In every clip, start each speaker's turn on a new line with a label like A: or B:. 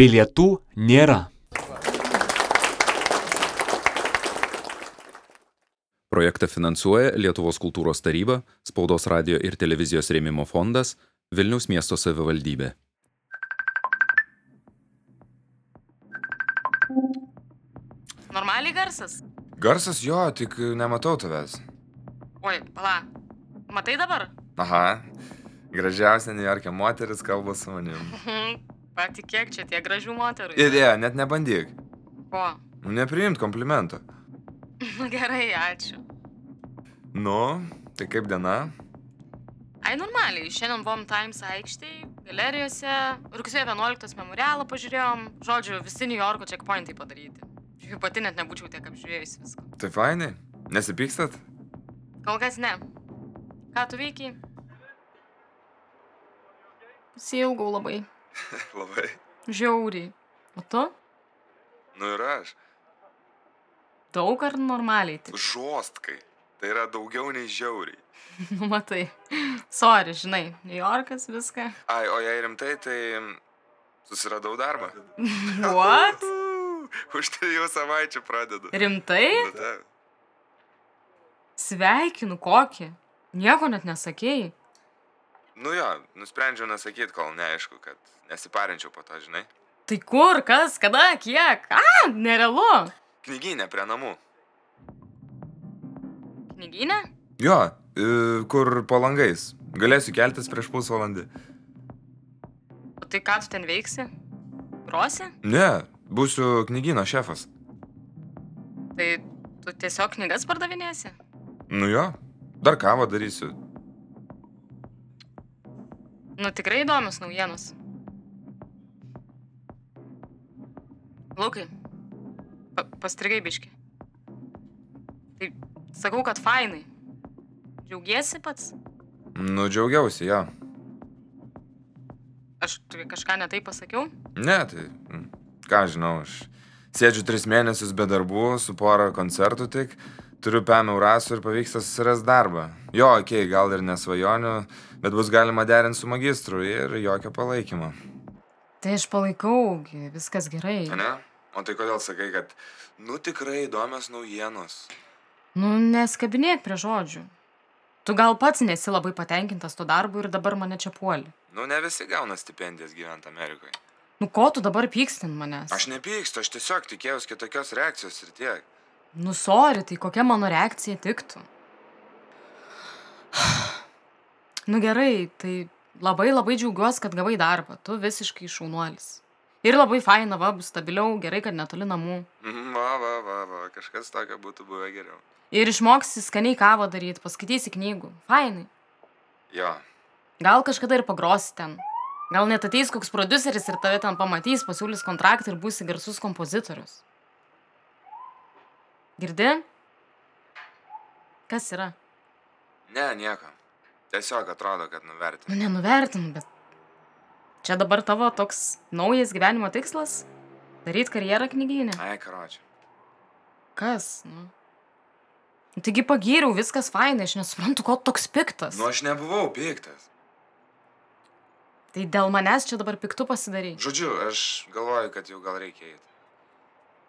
A: Bilietų nėra.
B: Projektą finansuoja Lietuvos kultūros taryba, Spaudos radio ir televizijos rėmimo fondas, Vilniaus miesto savivaldybė.
C: Normaliai garsas?
D: Garsas jo, tik nematau tavęs.
C: Oi, pala. Matai dabar?
D: Aha. Gražiausia New York'e moteris kalba su manim.
C: Mhm. Patikėk, čia tie gražių moterų.
D: Ir jie, net nebandyk. Nu,
C: Ko?
D: Nepriimt komplimento.
C: Nu gerai, ačiū.
D: Nu, tai kaip diena?
C: Ai, normaliai. Šiandien buvom Times aikštėje, galerijose, rugsėjo 11 memorialą pažiūrėjom. Žodžiu, visi New Yorko checkpointai padaryti. Jų pati net nebūčiau tiek apžiūrėjus visko.
D: Tai fainai? Nesipykstat?
C: Kol kas ne. Ką tu veikiai? Silgau labai.
D: Labai.
C: Žiauriai. O tu?
D: Nu ir aš.
C: Daug ar normaliai? Tik?
D: Žostkai. Tai yra daugiau nei žiauriai.
C: Nu, matai. Sorry, žinai, New Yorkas viską.
D: Ai, o jei rimtai, tai mm, susiradau darbą.
C: What?
D: Uhu, Už trijų savaičių pradedu.
C: Э, Rimtai?
D: Nu taip.
C: Sveikinu kokį. Nieko net nesakėjai.
D: Nu jo, nusprendžiau nesakyti, kol neaišku, kad nesiparinčiau po to, žinai.
C: Tai kur, kas, kada, kiek? A, nerealu.
D: Knyginė prie namų.
C: Knyginė?
D: Jo, kur po langais. Galėsiu keltis prieš pusvalandį.
C: O tai ką tu ten veiksi? Grosi?
D: Ne, būsiu knygino šefas.
C: Tai tu tiesiog knygas pardavinėsi?
D: Nu jo, dar kavą darysiu.
C: Nu tikrai įdomios naujienos. Lukai, pa pastrigai biški. Tai sakau, kad fainai. Džiaugiesi pats?
D: Nu, džiaugiausi, jo.
C: Aš tai kažką netai pasakiau?
D: Ne, tai mm, ką aš žinau, aš sėdžiu tris mėnesius be darbų, su pora koncertų tik, turiu pėmiau rasų ir pavyksta susirasti darbą. Jo, okei, okay, gal ir nesvajonių, bet bus galima derinti su magistru ir jokio palaikymo.
C: Tai aš palaikau, gi, viskas gerai.
D: Ne? O tai kodėl sakai, kad nu tikrai įdomios naujienos?
C: Nu, neskabinėk prie žodžių. Tu gal pats nesi labai patenkintas to darbu ir dabar mane čia puoli.
D: Nu, ne visi gauna stipendijas gyventi Amerikoje.
C: Nu, ko tu dabar pykstin manęs?
D: Aš nepykstu, aš tiesiog tikėjausi kitokios reakcijos ir tiek.
C: Nu, sorry, tai kokia mano reakcija tiktų? Nu gerai, tai labai labai džiaugiuosi, kad gavai darbą. Tu visiškai šaunuolis. Ir labai faina, va, bus stabiliau, gerai, kad netoli namų.
D: Mm, Va, va, va, va, kažkas tokio būtų buvę geriau.
C: Ir išmoksi skaniai kavą daryti, paskaitysi knygų. Fainai.
D: Jo,
C: Gal kažkada ir pagrosi ten. Gal net ateis koks produceris ir tave ten pamatys, pasiūlys kontraktą ir būsi garsus kompozitorius. Girdi? Kas yra?
D: ne, nieko. Tiesiog atrodo, kad nuvertinu.
C: Nu, nenuvertinu, bet. Čia dabar tavo toks naujas gyvenimo tikslas - daryti karjerą knyginę.
D: Ai, karoči.
C: Kas, nu? Nu, Taigi pagyriau, viskas fainai, aš nesuprantu, ko tu toks piktas.
D: Nu, aš nebuvau piktas.
C: Tai dėl manęs čia dabar piktų pasidarai.
D: Žodžiu, aš galvoju, kad jau gal reikia eiti.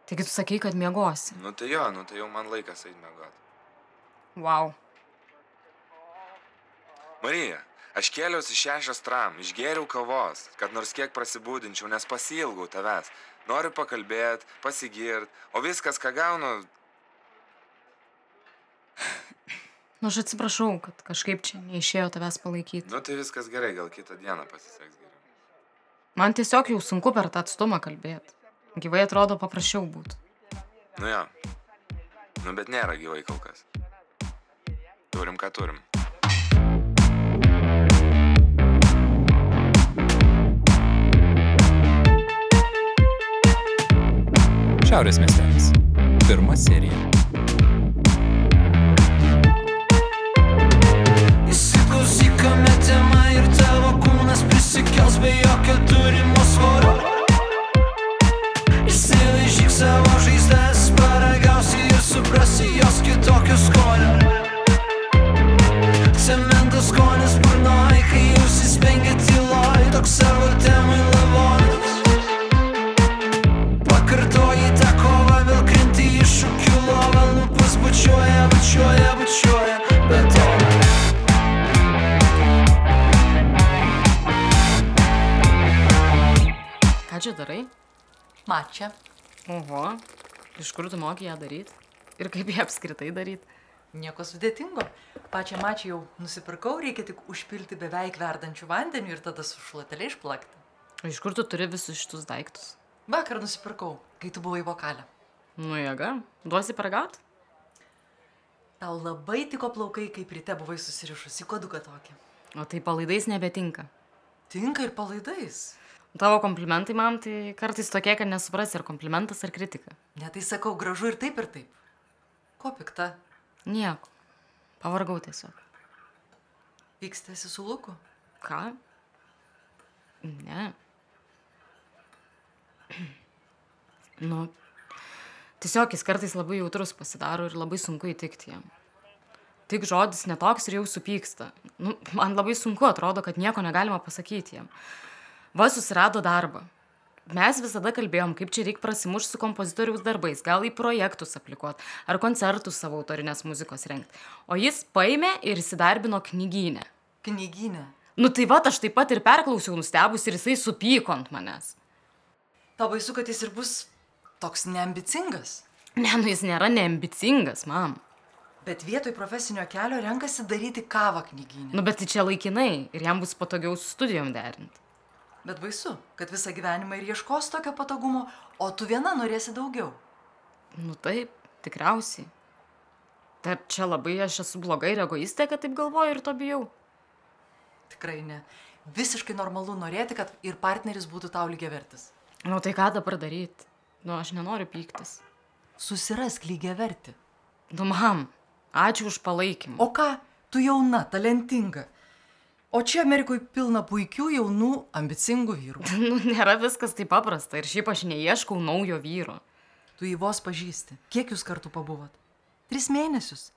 C: Taigi tu sakai, kad miegosi.
D: Nu tai jo, nu tai jau man laikas eiti mėgoti.
C: Wow.
D: Marija, aš kėliausi šešias tram, išgėriau kavos, kad nors kiek prasibūdinčiau, nes pasilgau tavęs. Noriu pakalbėti, pasigirt, o viskas, ką gaunu,
C: Nu, aš atsiprašau, kad kažkaip čia neišėjo tavęs palaikyti.
D: nu tai viskas gerai, gal kitą dieną pasiseks geriau.
C: Man tiesiog jau sunku per tą atstumą kalbėti. Gyvai atrodo paprasčiau būtų.
D: Nu jo. Nu bet nėra gyvai kol kas. Turim, ką turim.
B: Šiaurės miestelis. Pirma serija.
E: Įsiklausykame temą ir tavo kūnas prisikels be jokio turimo svorio. Įsilaižyk savo žaizdas, paragausi ir suprasi jos kitokio skonio. Cementas skonis burnoj, kai jūs įspengia tyloj, toks savo temai lavonas.
C: čia darai?
F: Mačia.
C: Oho, iš kur tu moki ją daryti? Ir kaip ją apskritai daryti?
F: Nieko sudėtingo. Pačią mačią jau nusipirkau, reikia tik užpilti beveik verdančių vandenių ir tada su šluoteliai išplakti.
C: O iš kur tu turi visus šitus daiktus?
F: Vakar nusipirkau, kai tu buvai vokalė.
C: Nu, jėga, duosi paragaut?
F: Tau labai tiko plaukai, kai ryte buvai susirišusi koduką tokį.
C: O tai palaidais nebetinka.
F: Tinka ir palaidais.
C: Tavo komplimentai man tai kartais tokie, kad nesuprasi, ar komplimentas ar kritika.
F: Netai tai sakau, gražu ir taip ir taip. Ko pikta?
C: Nieko. Pavargau tiesiog.
F: Pykstėsi su Luku?
C: Ką? Ne. Nu, tiesiog jis kartais labai jautrus pasidaro ir labai sunku įtikti jam. Tik žodis netoks ir jau supyksta. Nu, man labai sunku atrodo, kad nieko negalima pasakyti jam. Va susirado darbą. Mes visada kalbėjom, kaip čia reikia prasimušti su kompozitoriaus darbais, gal į projektus aplikuot, ar koncertus savo autorinės muzikos rengti. O jis paėmė ir įsidarbino knygynę.
F: Knyginė.
C: Nu tai va, aš taip pat ir perklausiau nustebus ir jisai supyko ant manęs.
F: Tau baisu, kad jis ir bus toks neambicingas.
C: Ne, nu jis nėra neambicingas, mam.
F: Bet vietoj profesinio kelio renkasi daryti kavą knyginę.
C: Nu bet tai čia laikinai ir jam bus patogiau su studijom derinti.
F: Bet baisu, kad visą gyvenimą ir ieškos tokio patogumo, o tu viena norėsi daugiau.
C: Nu taip, tikriausiai. Dar čia labai aš esu blogai ir egoistė, kad taip galvoju ir to bijau.
F: Tikrai ne. Visiškai normalu norėti, kad ir partneris būtų tau lygiavertis.
C: Nu tai ką dabar daryti? Nu aš nenoriu pyktis.
F: Susirask lygiavertį.
C: Nu mam, ačiū už palaikymą.
F: O ką, tu jauna, talentinga. O čia Amerikoje pilna puikių, jaunų, ambicingų vyrų.
C: Nu nėra viskas taip paprasta ir šiaip aš neieškau naujo vyro.
F: Tu jį vos pažįsti. Kiek jūs kartu pabuvot? Tris mėnesius.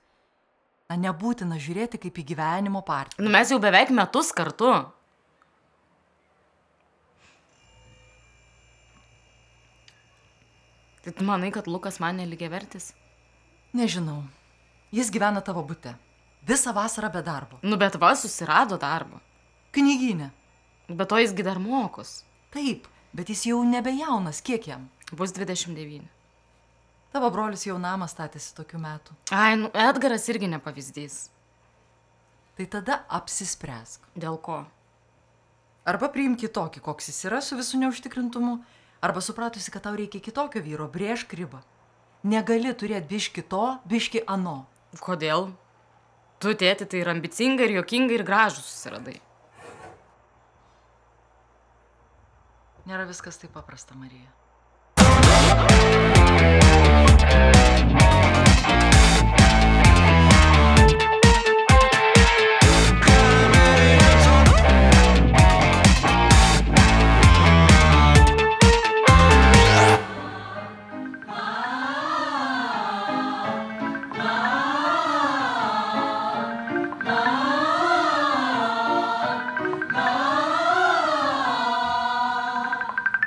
F: Na, nebūtina žiūrėti kaip į gyvenimo partiją.
C: Nu mes jau beveik metus kartu. Tai tu manai, kad Lukas man neligia vertis?
F: Nežinau. Jis gyvena tavo būte. Visą vasarą be darbo.
C: Nu bet va, susirado darbą.
F: Knyginė.
C: Bet to jisgi dar mokos.
F: Taip, bet jis jau nebejaunas. Kiek jam?
C: Bus 29.
F: Tavo brolis jau namą statėsi tokiu metu.
C: Ai, nu Edgaras irgi ne pavyzdys.
F: Tai tada apsispręsk.
C: Dėl ko?
F: Arba priimk kitokį, koks jis yra su visų neužtikrintumu, arba supratusi, kad tau reikia kitokio vyro, brėž ribą. Negali turėti biški to, biški ano.
C: Kodėl? Tu tėti tai ir ambicinga, ir jokinga, ir gražus susiradai.
F: Nėra viskas taip paprasta, Marija.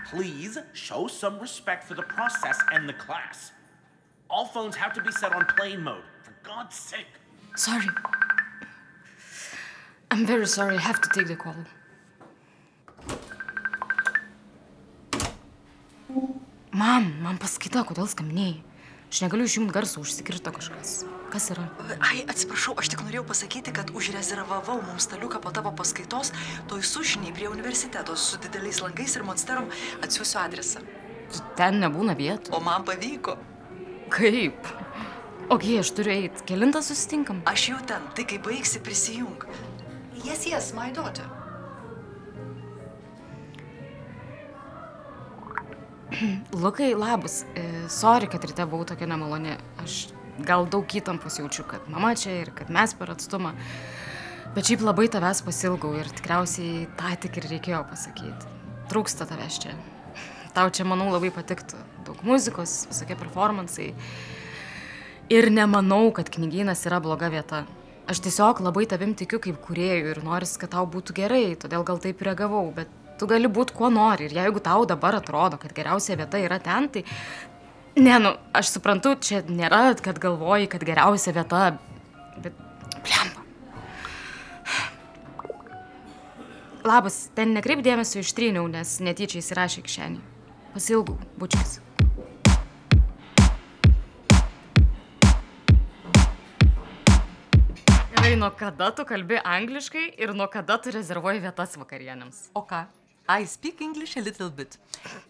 G: Please show some respect for the process and the class. All phones have to be set on plane mode, for God's sake.
C: Sorry. I'm very sorry, I have to take the call. Mam, man paskaita, kodėl skamniai. Aš negaliu išjungti garso, užsikirto kažkas. Kas yra?
F: Ai, atsiprašau, aš tik norėjau pasakyti, kad užrezervavau mums staliuką po tavo paskaitos, toj sušiniai prie universiteto su dideliais langais ir monsterom atsiųsiu adresą.
C: Tu Ten nebūna vietų.
F: O man pavyko.
C: Kaip? Ogi, aš turiu eiti. Kelintą susitinkam?
F: Aš jau ten, tai kai baigsi prisijung. Yes, yes, my daughter.
C: Lukai, labas. E, sorry, kad ryte buvau tokia nemaloni. Aš gal daug įtampos jaučiu, kad mama čia ir kad mes per atstumą. Bet šiaip labai tavęs pasilgau ir tikriausiai tą tik ir reikėjo pasakyti. Trūksta tavęs čia. Tau čia, manau, labai patiktų. Daug muzikos, visokie performansai. Ir nemanau, kad knygynas yra bloga vieta. Aš tiesiog labai tavim tikiu kaip kuriejų ir noris, kad tau būtų gerai, todėl gal taip reagavau, bet tu gali būti kuo nori ir jeigu tau dabar atrodo, kad geriausia vieta yra ten, tai... Ne, nu, aš suprantu, čia nėra, kad galvoji, kad geriausia vieta, bet... Blemba. Labas, ten nekreip dėmesio ištryniau, nes netyčia įsirašė kišenį. Pasilgau, bučius. Gerai, nuo kada tu kalbi angliškai ir nuo kada tu rezervuoji vietas vakarienėms?
F: O ką? I speak English a little bit.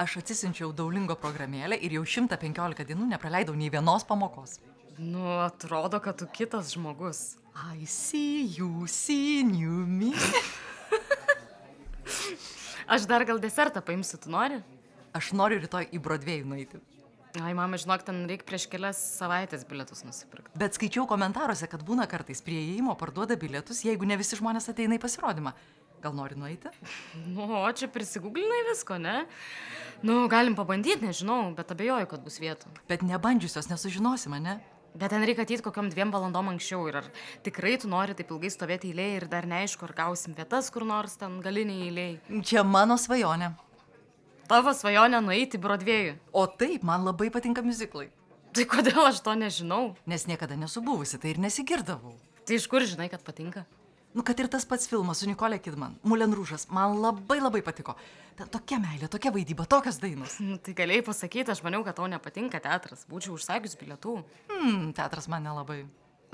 F: Aš atsisinčiau Daulingo programėlę ir jau 115 dienų nepraleidau nei vienos pamokos.
C: Nu, atrodo, kad tu kitas žmogus.
F: I see you, see you me.
C: Aš dar gal desertą paimsiu, tu nori?
F: Aš noriu rytoj į Brodvėjų nueiti.
C: Ai, mama, žinok, ten reikia prieš kelias savaitės bilietus nusipirkti.
F: Bet skaičiau komentaruose, kad būna kartais prie įėjimo parduoda bilietus, jeigu ne visi žmonės ateina į pasirodymą. Gal nori nueiti?
C: Nu, o čia prisigūglinai visko, ne? Nu, galim pabandyti, nežinau, bet abejoju, kad bus vietų.
F: Bet nebandžiusios nesužinosime, ne?
C: Bet ten reikia ateit kokiam dviem valandom anksčiau ir ar tikrai tu nori taip ilgai stovėti eilėje ir dar neaišku, ar gausim vietas kur nors ten galiniai eilėje.
F: Čia mano svajonė.
C: Tavo svajonė nueiti į Brodvėjų.
F: O taip, man labai patinka muziklai.
C: Tai kodėl aš to nežinau?
F: Nes niekada nesu buvusi, tai ir nesigirdavau.
C: Tai iš kur žinai, kad patinka?
F: Nu, kad ir tas pats filmas su Nikolė Kidman, Mulen Rūžas, man labai labai patiko. Ten tokia meilė, tokia vaidyba, tokios dainos.
C: Nu, tai galėjai pasakyti, aš maniau, kad tau nepatinka teatras, būčiau užsakius bilietų.
F: Hmm, teatras man nelabai.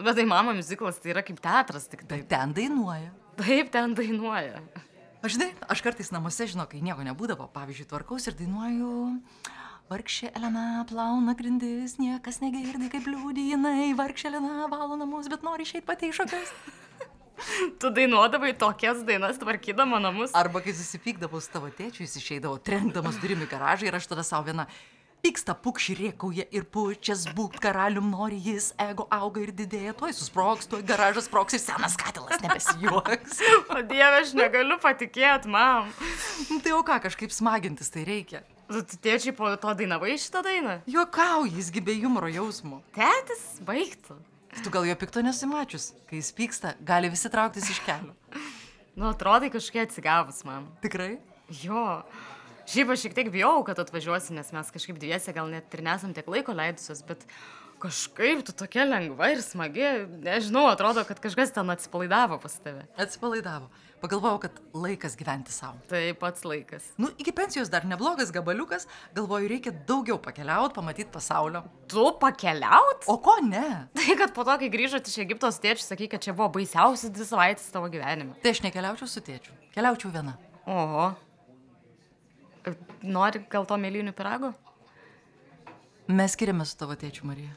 C: Bet tai mama muziklas tai yra kaip teatras, tik
F: Bet
C: taip.
F: ten dainuoja.
C: Taip ten dainuoja.
F: Aš žinai, aš kartais namuose, žinau, kai nieko nebūdavo, pavyzdžiui, tvarkaus ir dainuoju. Varkšė Elena plauna grindis, niekas negirdi, kaip liūdį jinai. Varkšė Elena valo namus, bet nori išeiti pati iš šokios.
C: Tu dainuodavai tokias dainas, tvarkydama namus.
F: Arba kai susipykdavau su tavo tėčiu, jis išeidavo trenkdamas durimi į garažą ir aš tada savo vieną pyksta pukšį riekauja ir pučias būk karalium nori jis, ego auga ir didėja, tuoj susproks, tuoj garažas sproks ir senas katilas nebesijuoks.
C: O dieve, aš negaliu patikėti, mam.
F: Nu tai jau ką, kažkaip smagintis tai reikia.
C: Tu tu tėčiai po to dainavai šitą dainą?
F: Juokauji, jisgi be humoro jausmo.
C: Tėtis, baigtų.
F: Tu gal jo pikto nesimačius, kai jis pyksta, gali visi trauktis iš kelio.
C: Nu, atrodai kažkiek atsigavus, mam.
F: Tikrai?
C: Jo. Šiaip aš šiek tiek bijau, kad atvažiuosi, nes mes kažkaip dviese gal net ir nesam tiek laiko leidusios, bet kažkaip tu tokia lengva ir smagi. Nežinau, atrodo, kad kažkas ten atsipalaidavo pas tave.
F: Atsipalaidavo. Pagalvojau, kad laikas gyventi savo.
C: Tai pats laikas.
F: Nu, iki pensijos dar neblogas gabaliukas, galvoju, reikia daugiau pakeliauti, pamatyti pasaulio.
C: Tu pakeliaut? O
F: O ko ne?
C: tai, kad po to, kai grįžot iš Egipto, tėčiai sakė, kad čia buvo baisiausias dvi savaitės tavo gyvenime.
F: Tai aš nekeliaučiau su tėčiu. Keliaučiau viena.
C: Oho. Nori gal to mėlynių pirago?
F: Mes skiriamės su tavo tėčiu, Marija.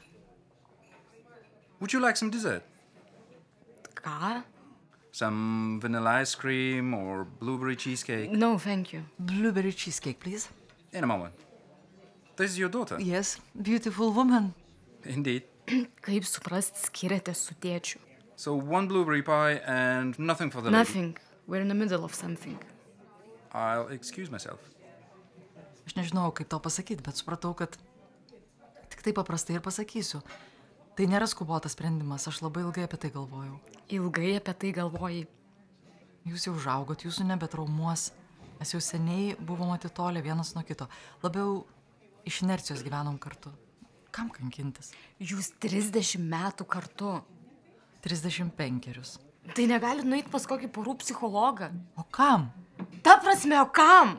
H: Would you like some dessert?
C: Ką?
H: Some vanilla ice cream or blueberry cheesecake?
C: No, thank you.
F: Blueberry cheesecake, please.
H: In a moment. This is your daughter.
F: Yes, beautiful woman.
H: Indeed.
C: Kaip suprast, skiriate su tėčiu?
H: So one blueberry pie and nothing for the lady.
C: Nothing. We're in the middle of something.
H: I'll excuse myself.
F: Aš nežinau, kaip to pasakyti, bet supratau, kad tik tai paprastai ir pasakysiu. Tai nėra skubotas sprendimas, aš labai ilgai apie tai galvojau.
C: Ilgai apie tai galvojai.
F: Jūs jau užaugot, jūsų nebetraumuos. Mes jau seniai buvom atitolę vienas nuo kito. Labiau iš inercijos gyvenom kartu. Kam kankintis?
C: Jūs 30 metų kartu.
F: 35.
C: Tai negalit nueiti pas kokį porų psichologą.
F: O kam?
C: Ta prasme, o kam?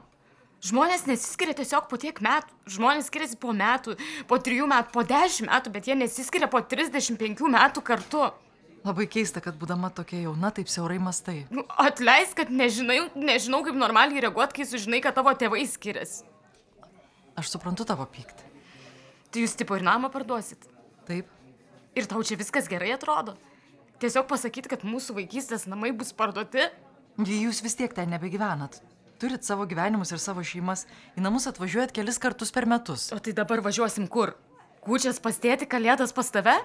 C: Žmonės nesiskiria tiesiog po tiek metų. Žmonės skiriasi po metų, po trijų metų, po dešimt metų, bet jie nesiskiria po 35 metų kartu.
F: Labai keista, kad būdama tokia jauna, taip siaurai mastai.
C: Nu, atleisk, kad nežinai, nežinau, kaip normaliai reaguoti, kai sužinai, kad tavo tėvai skiriasi.
F: Aš suprantu tavo pyktį.
C: Tai jūs tipo ir namą parduosit.
F: Taip,
C: Ir tau čia viskas gerai atrodo. Tiesiog pasakyti, kad mūsų vaikystės namai bus parduoti.
F: Gi jūs vis tiek ten nebegyvenat. Turit savo gyvenimus ir savo šeimas. Į namus atvažiuojat kelis kartus per metus.
C: O tai dabar važiuosim kur? Kūčias pastėti, kalėdas pas tave?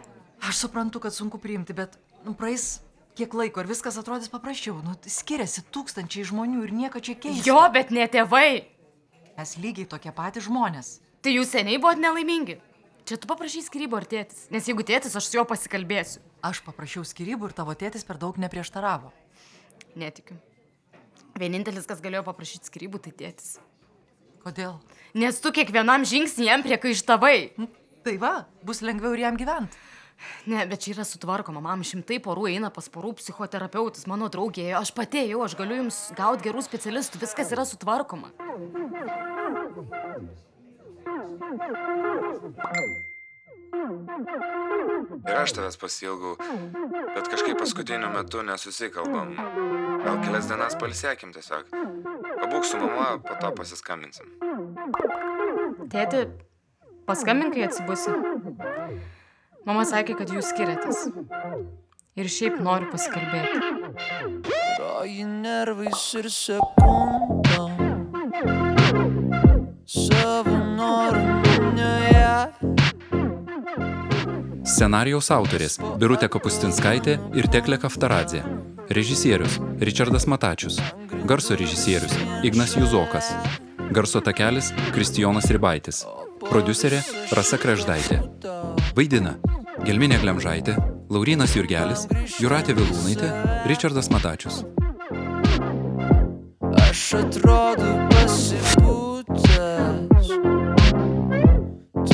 F: Aš suprantu, kad sunku priimti, bet nu, praeis kiek laiko ir viskas atrodys paprasčiau. Nu, skiriasi tūkstančiai žmonių ir nieko čia keičia.
C: Jo, bet ne tėvai.
F: Mes lygiai tokie patys žmonės.
C: Tai jūs seniai buvot nelaimingi. Čia tu paprašy skrybo ar tėtis. Nes jeigu tėtis, aš su juo pasikalbėsiu.
F: Aš paprašiau skirybų ir tavo tėtis per daug neprieštaravo.
C: Netikiu. Vienintelis, kas galėjo paprašyti skrybų, tai tėtis.
F: Kodėl?
C: Nes tu kiekvienam žingsnį jam priekaištavai.
F: Hm, Tai va, bus lengviau ir jam gyventi.
C: Ne, bet čia yra sutvarkoma, mam šimtai porų eina pas porų psichoterapeutus, mano draugėjo, aš patėjau, aš galiu jums gauti gerų specialistų, viskas yra sutvarkoma.
D: Ir aš tavęs pasilgau, bet kažkaip paskutiniu metu nesusikalbam. Gal kelias dienas palsėkim tiesiog. Pabūk su mama, po to pasiskambinsim.
C: Tėti, paskambink, kai atsibusi. Mama sakė, kad jūs skiriatės. Ir šiaip noriu pasikalbėti.
E: Roji nervais ir sekundom Savo noru neja
B: Scenarijaus autorės - Birutė Kapustinskaitė ir Teklė Kaftaradė. Režisierius - Richardas Matačius. Garso režisierius - Ignas Juzokas. Garso takelis - Kristijonas Ribaitis. Producerė - Rasa Kreždaitė. Vaidina - Gelminė Glemžaitė, Laurinas Jurgelis, Juratė Vilūnaitė, Richardas Matačius.
E: Aš atrodo pasipūtęs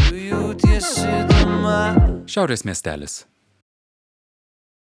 E: Tu jautiesi dama
B: Šiaurės miestelis.